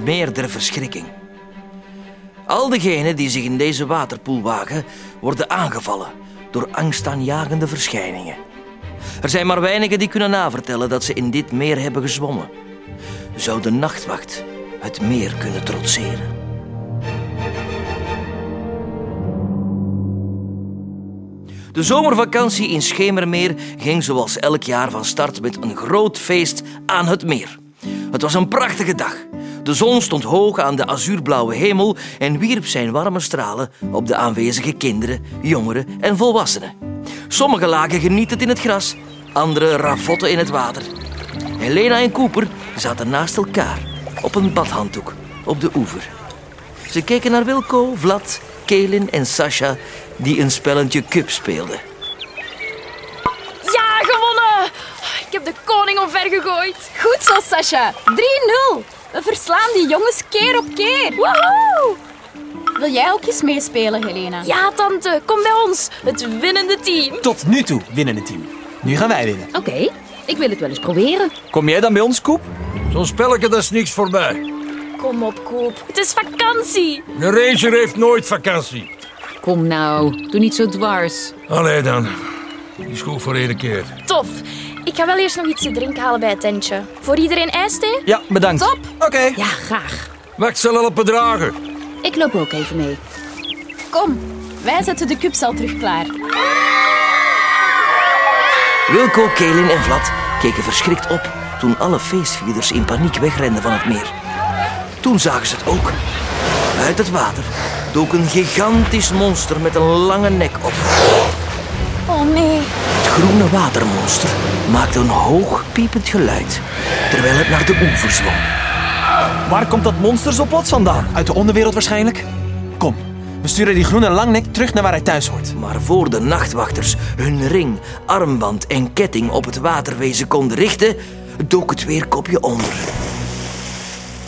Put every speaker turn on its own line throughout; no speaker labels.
meer der verschrikking. Al diegenen die zich in deze waterpoel wagen, worden aangevallen door angstaanjagende verschijningen. Er zijn maar weinigen die kunnen navertellen dat ze in dit meer hebben gezwommen. Zou de nachtwacht het meer kunnen trotseren? De zomervakantie in Schemermeer ging zoals elk jaar van start met een groot feest aan het meer. Het was een prachtige dag. De zon stond hoog aan de azuurblauwe hemel en wierp zijn warme stralen op de aanwezige kinderen, jongeren en volwassenen. Sommigen lagen genietend in het gras, anderen ravotten in het water. Helena en Cooper zaten naast elkaar op een badhanddoek op de oever. Ze keken naar Wilco, Vlad, Kelin en Sasha die een spelletje cup speelden.
Ja, gewonnen! Ik heb de koning omver gegooid.
Goed zo, Sasha. 3-0. We verslaan die jongens keer op keer.
Woehoe!
Wil jij ook eens meespelen, Helena?
Ja, tante, kom bij ons. Het winnende team.
Tot nu toe winnen het team. Nu gaan wij winnen.
Oké, ik wil het wel eens proberen.
Kom jij dan bij ons, Koep?
Zo'n spelletje, dat is niks voor mij.
Kom op, Koop. Het is vakantie.
Een ranger heeft nooit vakantie.
Kom nou, doe niet zo dwars.
Allee dan. Die school voor één keer.
Tof. Ik ga wel eerst nog iets te drinken halen bij het tentje. Voor iedereen ijsthee?
Ja, bedankt.
Top.
Oké.
Ja, graag.
Max zal helpen dragen.
Ik loop ook even mee.
Kom, wij zetten de cups al terug klaar.
Wilco, Kelin en Vlad keken verschrikt op toen alle feestvierders in paniek wegrenden van het meer. Toen zagen ze het ook. Uit het water dook een gigantisch monster met een lange nek op.
Oh nee.
Het groene watermonster maakte een hoog piepend geluid terwijl het naar de oever zwom.
Waar komt dat monster zo plots vandaan? Uit de onderwereld waarschijnlijk. Kom, we sturen die groene langnek terug naar waar hij thuis hoort.
Maar voor de nachtwachters hun ring, armband en ketting op het waterwezen konden richten, dook het weer kopje onder.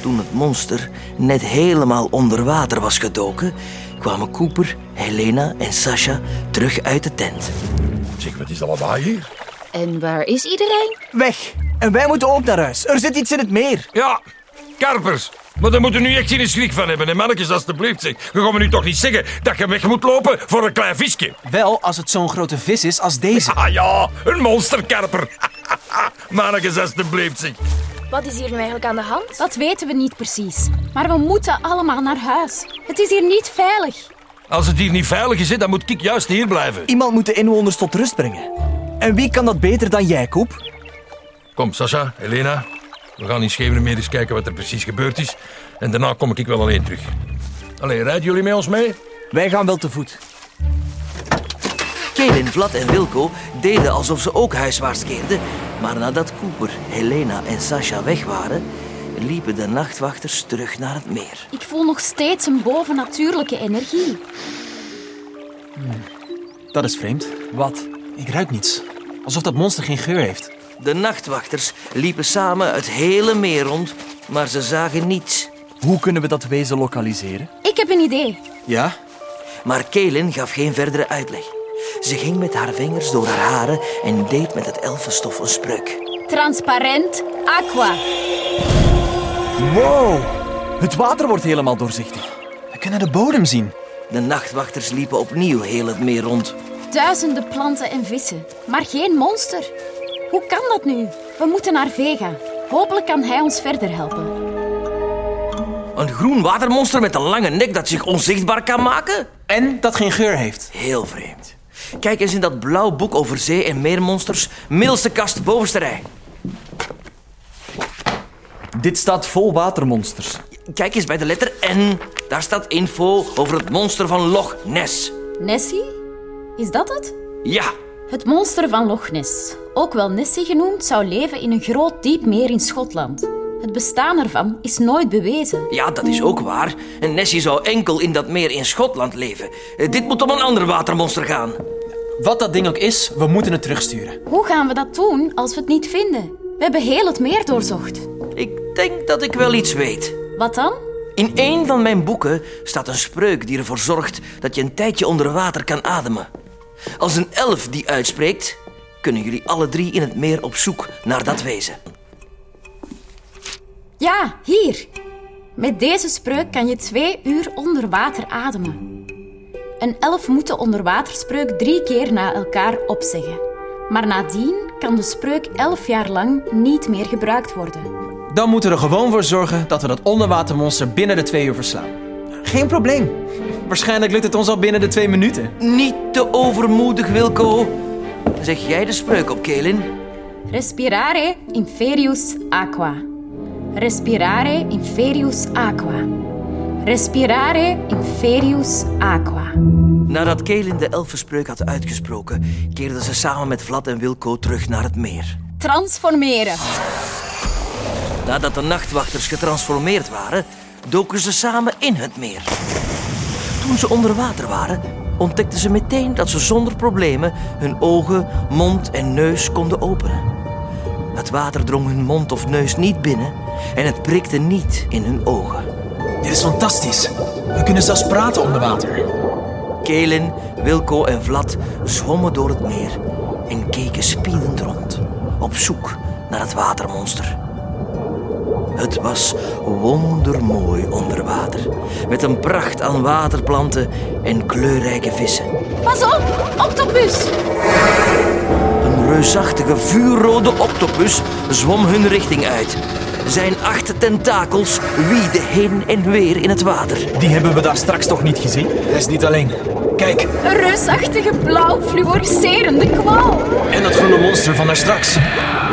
Toen het monster net helemaal onder water was gedoken, kwamen Cooper, Helena en Sasha terug uit de tent.
Zeg, wat is dat lawaai hier?
En waar is iedereen?
Weg! En wij moeten ook naar huis. Er zit iets in het meer.
Ja, karpers. Maar daar moeten we nu echt geen schrik van hebben, hè, mannetjes, alstublieft. Zeg. Je gaat me nu toch niet zeggen dat je weg moet lopen voor een klein visje.
Wel als het zo'n grote vis is als deze.
Ah ja, een monsterkarper. mannetjes, alstublieft, zeg.
Wat is hier nu eigenlijk aan de hand?
Dat weten we niet precies. Maar we moeten allemaal naar huis. Het is hier niet veilig.
Als het hier niet veilig is, hè, dan moet ik juist hier blijven.
Iemand moet de inwoners tot rust brengen. En wie kan dat beter dan jij, Koep?
Kom, Sascha, Helena. We gaan in Scheveningen eens kijken wat er precies gebeurd is. En daarna kom ik wel alleen terug. Allee, rijden jullie met ons mee?
Wij gaan wel te voet.
Kelin, Vlad en Wilco deden alsof ze ook huiswaarts keerden, maar nadat Cooper, Helena en Sasha weg waren, liepen de nachtwachters terug naar het meer.
Ik voel nog steeds een bovennatuurlijke energie.
Dat is vreemd. Wat? Ik ruik niets. Alsof dat monster geen geur heeft.
De nachtwachters liepen samen het hele meer rond, maar ze zagen niets.
Hoe kunnen we dat wezen lokaliseren?
Ik heb een idee.
Ja?
Maar Kaelin gaf geen verdere uitleg. Ze ging met haar vingers door haar haren en deed met het elfenstof een spreuk.
Transparent aqua.
Wow! Het water wordt helemaal doorzichtig. We kunnen de bodem zien.
De nachtwachters liepen opnieuw heel het meer rond.
Duizenden planten en vissen. Maar geen monster. Hoe kan dat nu? We moeten naar Vega. Hopelijk kan hij ons verder helpen.
Een groen watermonster met een lange nek dat zich onzichtbaar kan maken?
En dat geen geur heeft.
Heel vreemd. Kijk eens in dat blauw boek over zee- en meermonsters, middelste kast, bovenste rij.
Dit staat vol watermonsters.
Kijk eens bij de letter N. Daar staat info over het monster van Loch Ness.
Nessie? Is dat het?
Ja,
Het monster van Loch Ness, ook wel Nessie genoemd, zou leven in een groot diep meer in Schotland. Het bestaan ervan is nooit bewezen.
Ja, dat is ook waar. En Nessie zou enkel in dat meer in Schotland leven. Eh, Dit moet om een ander watermonster gaan.
Wat dat ding ook is, we moeten het terugsturen.
Hoe gaan we dat doen als we het niet vinden? We hebben heel het meer doorzocht.
Ik denk dat ik wel iets weet.
Wat dan?
In een van mijn boeken staat een spreuk die ervoor zorgt dat je een tijdje onder water kan ademen. Als een elf die uitspreekt, kunnen jullie alle drie in het meer op zoek naar dat wezen.
Ja, hier. Met deze spreuk kan je twee uur onder water ademen. Een elf moet de onderwaterspreuk drie keer na elkaar opzeggen. Maar nadien kan de spreuk elf jaar lang niet meer gebruikt worden.
Dan moeten we er gewoon voor zorgen dat we dat onderwatermonster binnen de twee uur verslaan. Geen probleem. Waarschijnlijk lukt het ons al binnen de twee minuten.
Niet te overmoedig, Wilco. Zeg jij de spreuk op, Kelin?
Respirare inferius aqua. Respirare inferius aqua. Respirare inferius aqua.
Nadat Kelin de elfenspreuk had uitgesproken, keerden ze samen met Vlad en Wilco terug naar het meer.
Transformeren.
Nadat de nachtwachters getransformeerd waren, doken ze samen in het meer. Toen ze onder water waren, ontdekten ze meteen dat ze zonder problemen hun ogen, mond en neus konden openen. Het water drong hun mond of neus niet binnen en het prikte niet in hun ogen.
Dit is fantastisch. We kunnen zelfs praten onder water.
Kelin, Wilco en Vlad zwommen door het meer en keken spiedend rond, op zoek naar het watermonster. Het was wondermooi onder water, met een pracht aan waterplanten en kleurrijke vissen.
Pas op, octopus!
Een reusachtige vuurrode octopus zwom hun richting uit. Zijn acht tentakels wieden heen en weer in het water.
Die hebben we daar straks toch niet gezien? Hij is niet alleen. Kijk,
Een reusachtige blauw fluoriserende kwaal.
en dat groene monster van daar straks.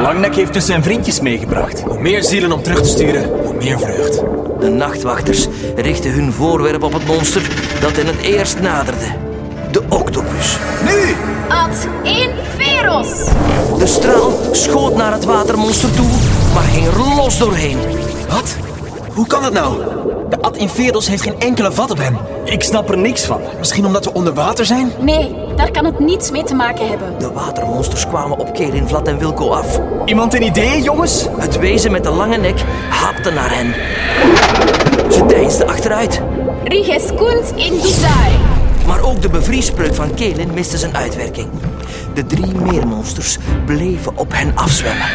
Langnek heeft dus zijn vriendjes meegebracht.
Hoe meer zielen om terug te sturen, hoe meer vreugd.
De nachtwachters richtten hun voorwerp op het monster dat hen het eerst naderde. De octopus.
Ad inferos.
De straal schoot naar het watermonster toe, maar ging er los doorheen.
Wat? Hoe kan dat nou? De Ad Inferos heeft geen enkele vat op hem.
Ik snap er niks van.
Misschien omdat we onder water zijn?
Nee, daar kan het niets mee te maken hebben.
De watermonsters kwamen op Kelin, Vlad en Wilco af.
Iemand een idee, jongens?
Het wezen met de lange nek hapte naar hen. Ze deinsden achteruit.
Riges kunt in design.
Maar ook de bevriespreuk van Kelin miste zijn uitwerking. De drie meermonsters bleven op hen afzwemmen.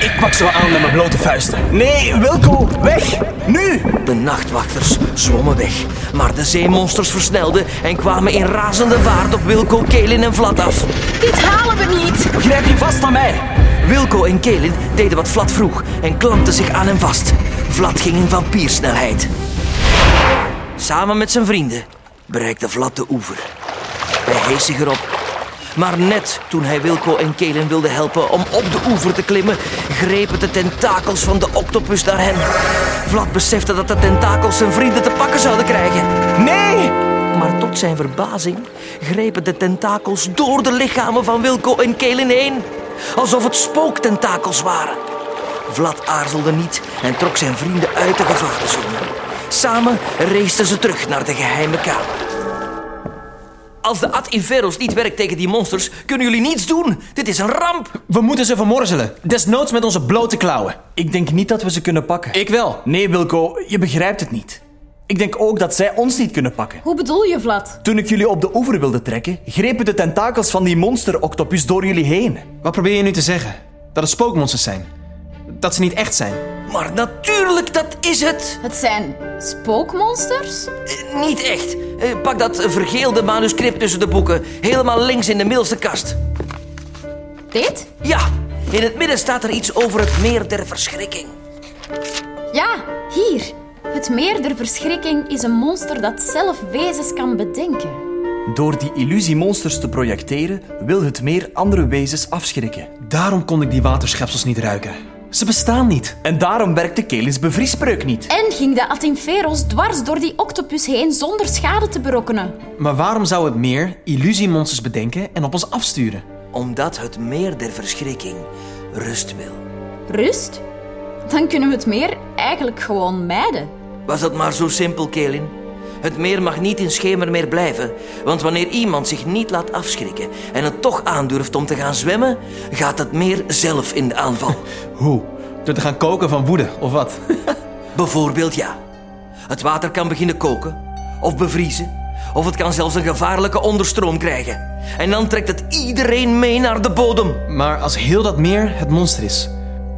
Ik pak ze wel aan met mijn blote vuisten.
Nee, Wilco, weg! Nu!
De nachtwachters zwommen weg, maar de zeemonsters versnelden en kwamen in razende vaart op Wilco, Kelin en Vlad af.
Dit halen we niet.
Grijp je vast aan mij!
Wilco en Kelin deden wat Vlad vroeg en klampten zich aan hem vast. Vlad ging in vampiersnelheid. Samen met zijn vrienden bereikte Vlad de oever. Hij hees zich erop. Maar net toen hij Wilco en Kelin wilde helpen om op de oever te klimmen, grepen de tentakels van de octopus naar hen. Vlad besefte dat de tentakels zijn vrienden te pakken zouden krijgen.
Nee!
Maar tot zijn verbazing grepen de tentakels door de lichamen van Wilco en Kelen heen. Alsof het spooktentakels waren. Vlad aarzelde niet en trok zijn vrienden uit de gevarenzone. Samen reisden ze terug naar de geheime kamer. Als de Ad Inferos niet werkt tegen die monsters, kunnen jullie niets doen. Dit is een ramp.
We moeten ze vermorzelen. Desnoods met onze blote klauwen.
Ik denk niet dat we ze kunnen pakken.
Ik wel.
Nee, Wilco, je begrijpt het niet. Ik denk ook dat zij ons niet kunnen pakken.
Hoe bedoel je, Vlad?
Toen ik jullie op de oever wilde trekken, grepen de tentakels van die monster-octopus door jullie heen.
Wat probeer je nu te zeggen? Dat het spookmonsters zijn. Dat ze niet echt zijn.
Maar natuurlijk, dat is het.
Het zijn spookmonsters?
Eh, Niet echt. Eh, Pak dat eh, vergeelde manuscript tussen de boeken. Helemaal links in de middelste kast.
Dit?
Ja, in het midden staat er iets over het meer der verschrikking.
Ja, hier. Het meer der verschrikking is een monster dat zelf wezens kan bedenken.
Door die illusiemonsters te projecteren, wil het meer andere wezens afschrikken.
Daarom kon ik die waterschepsels niet ruiken. Ze bestaan niet.
En daarom werkte Kelins bevriespreuk niet.
En ging de Atinferos dwars door die octopus heen zonder schade te berokkenen.
Maar waarom zou het meer illusiemonsters bedenken en op ons afsturen?
Omdat het meer der verschrikking rust wil.
Rust? Dan kunnen we het meer eigenlijk gewoon mijden.
Was dat maar zo simpel, Kelin? Het meer mag niet in schemer meer blijven. Want wanneer iemand zich niet laat afschrikken en het toch aandurft om te gaan zwemmen, gaat het meer zelf in de aanval.
Hoe? Door te gaan koken van woede, of wat?
Bijvoorbeeld ja. Het water kan beginnen koken of bevriezen. Of het kan zelfs een gevaarlijke onderstroom krijgen. En dan trekt het iedereen mee naar de bodem.
Maar als heel dat meer het monster is,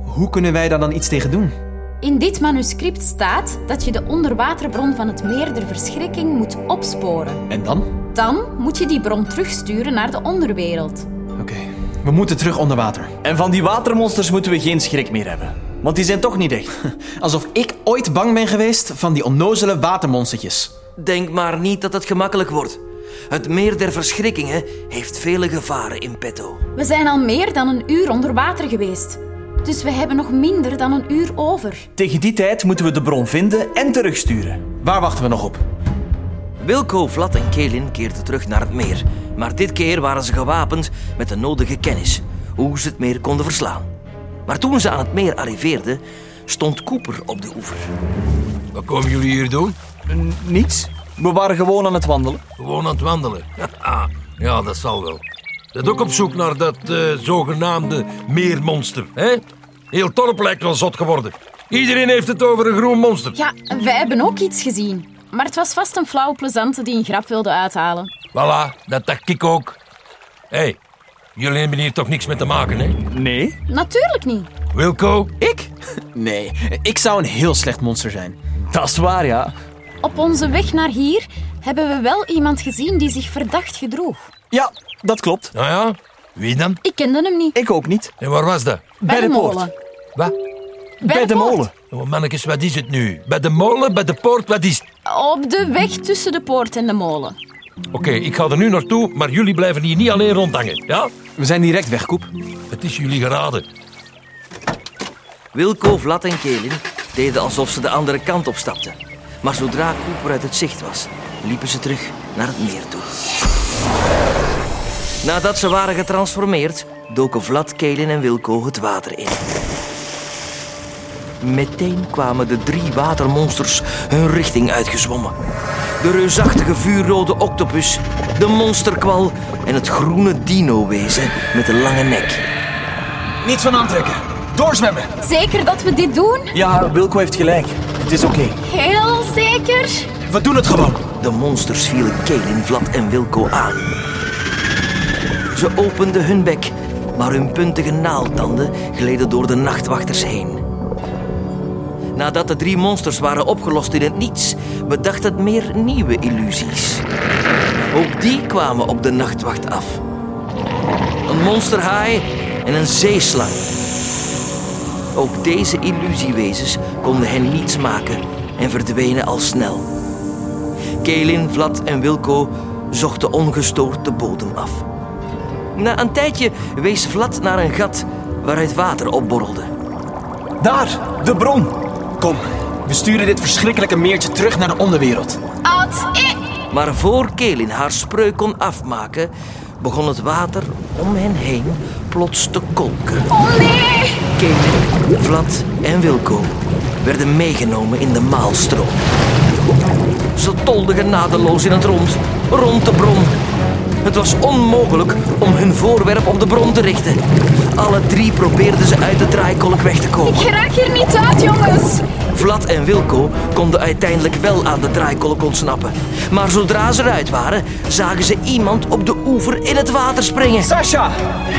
hoe kunnen wij daar dan iets tegen doen?
In dit manuscript staat dat je de onderwaterbron van het meer der verschrikking moet opsporen.
En dan?
Dan moet je die bron terugsturen naar de onderwereld.
Oké, we moeten terug onder water.
En van die watermonsters moeten we geen schrik meer hebben. Want die zijn toch niet echt.
Alsof ik ooit bang ben geweest van die onnozele watermonstertjes.
Denk maar niet dat het gemakkelijk wordt. Het meer der verschrikkingen heeft vele gevaren in petto.
We zijn al meer dan een uur onder water geweest. Dus we hebben nog minder dan een uur over.
Tegen die tijd moeten we de bron vinden en terugsturen.
Waar wachten we nog op?
Wilco, Vlad en Kelin keerden terug naar het meer. Maar dit keer waren ze gewapend met de nodige kennis. Hoe ze het meer konden verslaan. Maar toen ze aan het meer arriveerden, stond Cooper op de oever.
Wat komen jullie hier doen?
Niets. We waren gewoon aan het wandelen.
Gewoon aan het wandelen. Haha, ja, dat zal wel. Dat ook op zoek naar dat eh, zogenaamde meermonster. Hè? Heel dorp lijkt wel zot geworden. Iedereen heeft het over een groen monster.
Ja, wij hebben ook iets gezien. Maar het was vast een flauw plezante die een grap wilde uithalen.
Voilà, dat dacht ik ook. Hé, hey, jullie hebben hier toch niks mee te maken, hè?
Nee.
Natuurlijk niet.
Wilco?
Ik? Nee, ik zou een heel slecht monster zijn.
Dat is waar, ja.
Op onze weg naar hier hebben we wel iemand gezien die zich verdacht gedroeg.
Ja, dat klopt.
Nou ja, wie dan?
Ik kende hem niet.
Ik ook niet.
En waar was dat?
Bij de poort.
molen.
Wat?
Bij, de
molen.
poort.
Oh, mannetjes, wat is het nu? Bij de molen, bij de poort, wat is het?
Op de weg tussen de poort en de molen.
Oké, ik ga er nu naartoe, maar jullie blijven hier niet alleen rondhangen, ja?
We zijn direct weg, Koep.
Het is jullie geraden.
Wilco, Vlad en Kelin deden alsof ze de andere kant op stapten. Maar zodra Cooper uit het zicht was, liepen ze terug naar het meer toe. Nadat ze waren getransformeerd, doken Vlad, Kelin en Wilco het water in. Meteen kwamen de drie watermonsters hun richting uitgezwommen. De reusachtige vuurrode octopus, de monsterkwal en het groene dino-wezen met de lange nek.
Niets van aantrekken. Doorzwemmen.
Zeker dat we dit doen?
Ja, Wilco heeft gelijk. Het is oké.
Heel zeker.
We doen het gewoon.
De monsters vielen Kelin, Vlad en Wilco aan. Ze openden hun bek, maar hun puntige naaldtanden gleden door de nachtwachters heen. Nadat de drie monsters waren opgelost in het niets, bedacht het meer nieuwe illusies. Ook die kwamen op de nachtwacht af. Een monsterhaai en een zeeslang. Ook deze illusiewezens konden hen niets maken en verdwenen al snel. Kelin, Vlad en Wilco zochten ongestoord de bodem af. Na een tijdje wees Vlad naar een gat waaruit water opborrelde.
Daar, de bron.
Kom, we sturen dit verschrikkelijke meertje terug naar de onderwereld.
Ad ik.
Maar voor Kelin haar spreuk kon afmaken, begon het water om hen heen plots te kolken.
Oh nee.
Kelin, Vlad en Wilco werden meegenomen in de maalstroom. Ze tolden genadeloos in het rond, rond de bron. Het was onmogelijk om hun voorwerp op de bron te richten. Alle drie probeerden ze uit de draaikolk weg te komen.
Ik raak hier niet uit, jongens.
Vlad en Wilco konden uiteindelijk wel aan de draaikolk ontsnappen. Maar zodra ze eruit waren, zagen ze iemand op de oever in het water springen.
Sasha,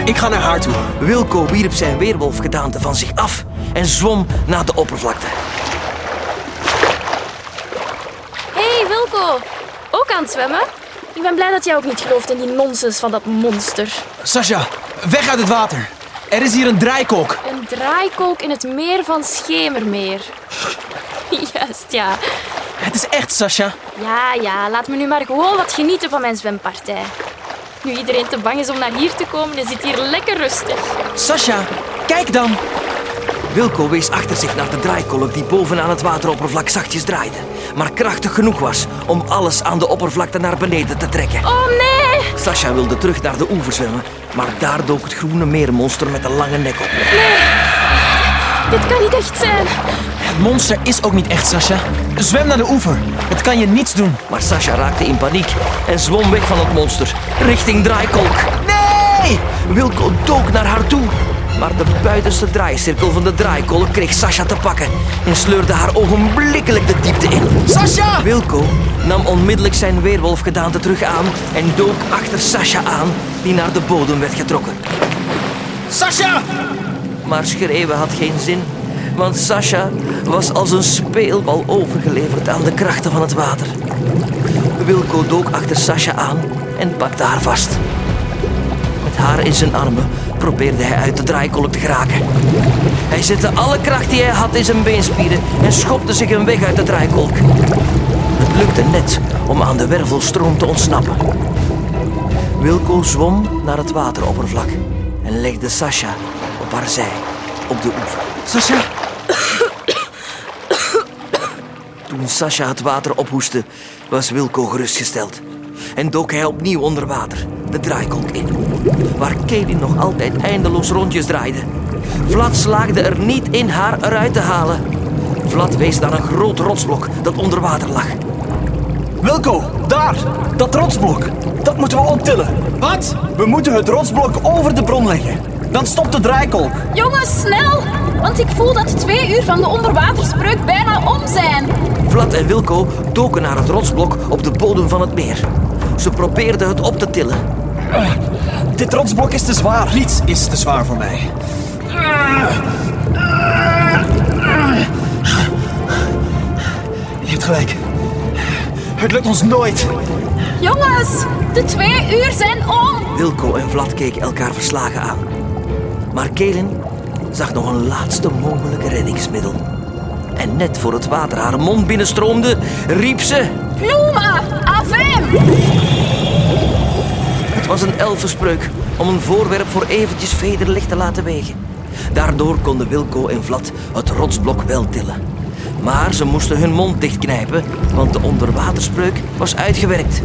ik ga naar haar toe.
Wilco wierp zijn weerwolfgedaante van zich af en zwom naar de oppervlakte.
Hé, hey, Wilco. Ook aan het zwemmen? Ik ben blij dat jij ook niet gelooft in die nonsens van dat monster.
Sasha, weg uit het water. Er is hier een draaikolk.
Een draaikolk in het meer van Schemermeer. Juist, ja.
Het is echt, Sasha.
Ja, ja, laat me nu maar gewoon wat genieten van mijn zwempartij. Nu iedereen te bang is om naar hier te komen, is het hier lekker rustig.
Sasha, kijk dan.
Wilco wees achter zich naar de draaikolk die bovenaan het wateroppervlak zachtjes draaide, maar krachtig genoeg was om alles aan de oppervlakte naar beneden te trekken.
Oh nee!
Sasha wilde terug naar de oever zwemmen, maar daar dook het groene meermonster met een lange nek op.
Dit kan niet echt zijn.
Het monster is ook niet echt, Sasha. Zwem naar de oever. Het kan je niets doen.
Maar Sasha raakte in paniek en zwom weg van het monster, richting draaikolk. Nee! Wilco dook naar haar toe. Maar de buitenste draaicirkel van de draaikolk kreeg Sasha te pakken en sleurde haar ogenblikkelijk de diepte in.
Sasha!
Wilco nam onmiddellijk zijn weerwolfgedaante terug aan en dook achter Sasha aan, die naar de bodem werd getrokken.
Sasha!
Maar schreeuwen had geen zin. Want Sasha was als een speelbal overgeleverd aan de krachten van het water. Wilco dook achter Sasha aan en pakte haar vast. Met haar in zijn armen probeerde hij uit de draaikolk te geraken. Hij zette alle kracht die hij had in zijn beenspieren en schopte zich een weg uit de draaikolk. Het lukte net om aan de wervelstroom te ontsnappen. Wilco zwom naar het wateroppervlak en legde Sasha op haar zij op de oever.
Sasha,
Toen Sasha het water ophoestte, was Wilco gerustgesteld. En dook hij opnieuw onder water, de draaikolk in. Waar Kaylin nog altijd eindeloos rondjes draaide. Vlad slaagde er niet in haar eruit te halen. Vlad wees naar een groot rotsblok dat onder water lag.
Wilco, daar! Dat rotsblok. Dat moeten we optillen. Wat? We moeten het rotsblok over de bron leggen. Dan stopt de draaikolk.
Jongens, snel! Want ik voel dat de twee uur van de onderwaterspreuk bijna om zijn.
Vlad en Wilco doken naar het rotsblok op de bodem van het meer. Ze probeerden het op te tillen,
Dit rotsblok is te zwaar.
niets is te zwaar voor mij. Je hebt gelijk. Het lukt ons nooit.
Jongens, de twee uur zijn om.
Wilco en Vlad keken elkaar verslagen aan. Maar Kaelin zag nog een laatste mogelijke reddingsmiddel. En net voor het water haar mond binnenstroomde, riep ze...
Pluma, avem!
Het was een elfenspreuk om een voorwerp voor eventjes vederlicht te laten wegen. Daardoor konden Wilco en Vlad het rotsblok wel tillen. Maar ze moesten hun mond dichtknijpen, want de onderwaterspreuk was uitgewerkt.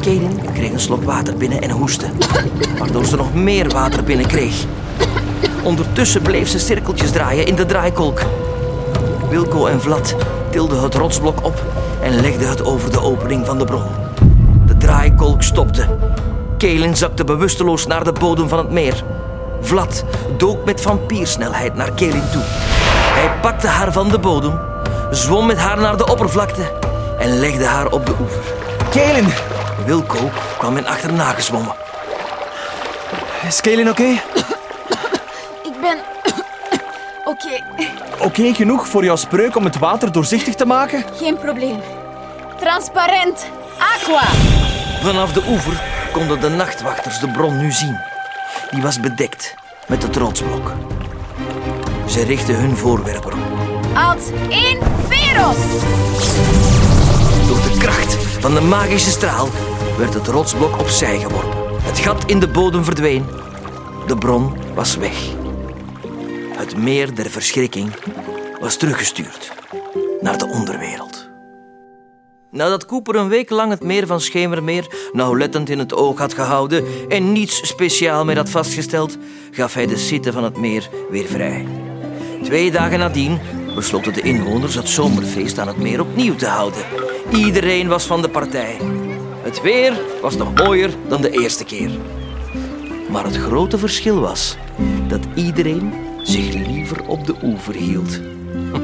Kaelin kreeg een slok water binnen en hoestte, waardoor ze nog meer water binnen kreeg. Ondertussen bleef ze cirkeltjes draaien in de draaikolk. Wilco en Vlad tilden het rotsblok op en legden het over de opening van de bron. De draaikolk stopte. Kelen zakte bewusteloos naar de bodem van het meer. Vlad dook met vampiersnelheid naar Kelen toe. Hij pakte haar van de bodem, zwom met haar naar de oppervlakte en legde haar op de oever.
Kaelin,
Wilco kwam hen achterna gezwommen.
is Kaelin oké?
Ik ben... Oké,
Oké genoeg voor jouw spreuk om het water doorzichtig te maken?
geen probleem. Transparent. Aqua.
Vanaf de oever konden de nachtwachters de bron nu zien. Die was bedekt met het rotsblok. Ze richtten hun voorwerpen op.
Als in Veros.
Door de kracht van de magische straal werd het rotsblok opzij geworpen. Het gat in de bodem verdween. De bron was weg. Het meer der verschrikking was teruggestuurd naar de onderwereld. Nadat Cooper een week lang het meer van Schemermeer nauwlettend in het oog had gehouden en niets speciaal meer had vastgesteld, gaf hij de site van het meer weer vrij. Twee dagen nadien besloten de inwoners het zomerfeest aan het meer opnieuw te houden. Iedereen was van de partij. Het weer was nog mooier dan de eerste keer. Maar het grote verschil was dat iedereen zich liever op de oever hield. Hm.